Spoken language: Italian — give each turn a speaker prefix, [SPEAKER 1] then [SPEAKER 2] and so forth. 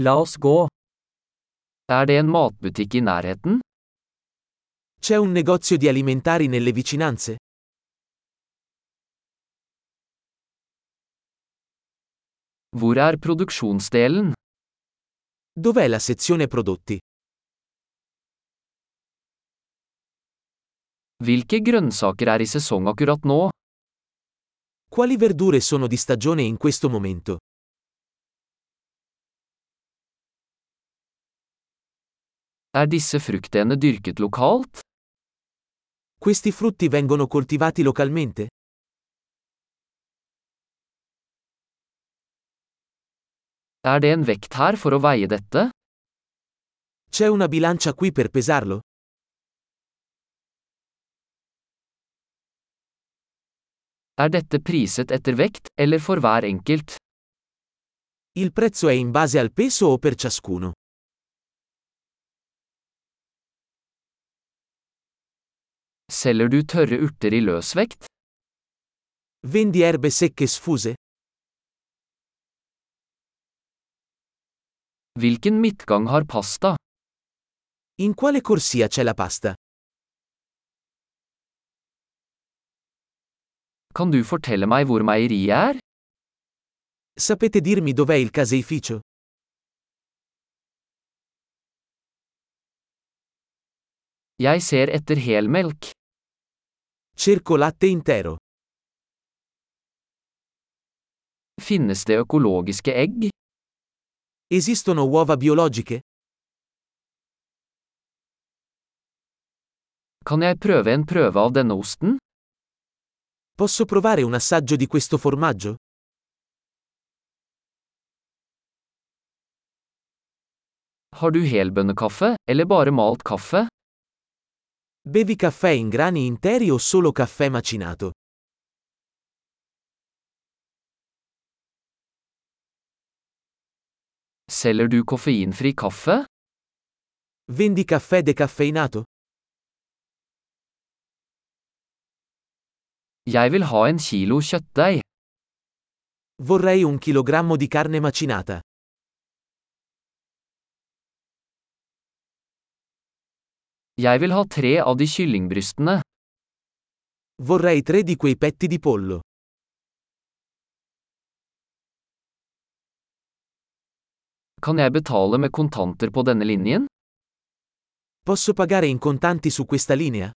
[SPEAKER 1] La oss gå. Er det en matbutikk i nærheten?
[SPEAKER 2] C'è un negozio di alimentari nelle vicinanze?
[SPEAKER 1] Hvor er produksjonsdelen?
[SPEAKER 2] Dov'è la sezione prodotti?
[SPEAKER 1] Hvilke grønnsaker er i sesong akkurat nå?
[SPEAKER 2] Quali verdure sono di stagione in questo momento?
[SPEAKER 1] Er disse fruktene dyrket lokalt?
[SPEAKER 2] Questi frutti vengono coltivati localmente?
[SPEAKER 1] Er det en vekt her for å veie dette?
[SPEAKER 2] C'è una bilancia qui per pesarlo?
[SPEAKER 1] Er dette priset etter vekt, eller for hver enkelt?
[SPEAKER 2] Il prezzo è in base al peso o per ciascuno?
[SPEAKER 1] Selger du tørre urter i løsvekt?
[SPEAKER 2] Vendi erbe secche sfuse?
[SPEAKER 1] Hvilken midtgang har pasta?
[SPEAKER 2] In quale corsia c'è la pasta?
[SPEAKER 1] Kan du fortelle meg hvor meieriet er?
[SPEAKER 2] Sapete dirmi dov'è il caseificio?
[SPEAKER 1] Jeg ser etter helmelk.
[SPEAKER 2] Cerco latte intero.
[SPEAKER 1] Finnes det økologiske egg?
[SPEAKER 2] Esistono uova biologiche?
[SPEAKER 1] Kan jeg prøve en prøve av denne osten?
[SPEAKER 2] Posso provare un assaggio di questo formaggio?
[SPEAKER 1] Har du helbønnekaffe, eller bare malt kaffe?
[SPEAKER 2] Bevi caffè in grani interi o solo caffè macinato?
[SPEAKER 1] Selger du koffeinfri kaffe?
[SPEAKER 2] Vendi caffè decaffeinato?
[SPEAKER 1] Jeg vil ha en kilo kjøttdeig.
[SPEAKER 2] Vorrei un chilogrammo di carne macinata.
[SPEAKER 1] Jeg vil ha tre av de kyllingbrystene.
[SPEAKER 2] Vorrei tre di quei petti di pollo.
[SPEAKER 1] Kan jeg betale med kontanter på denne linjen?
[SPEAKER 2] Posso pagare in contanti su questa linea?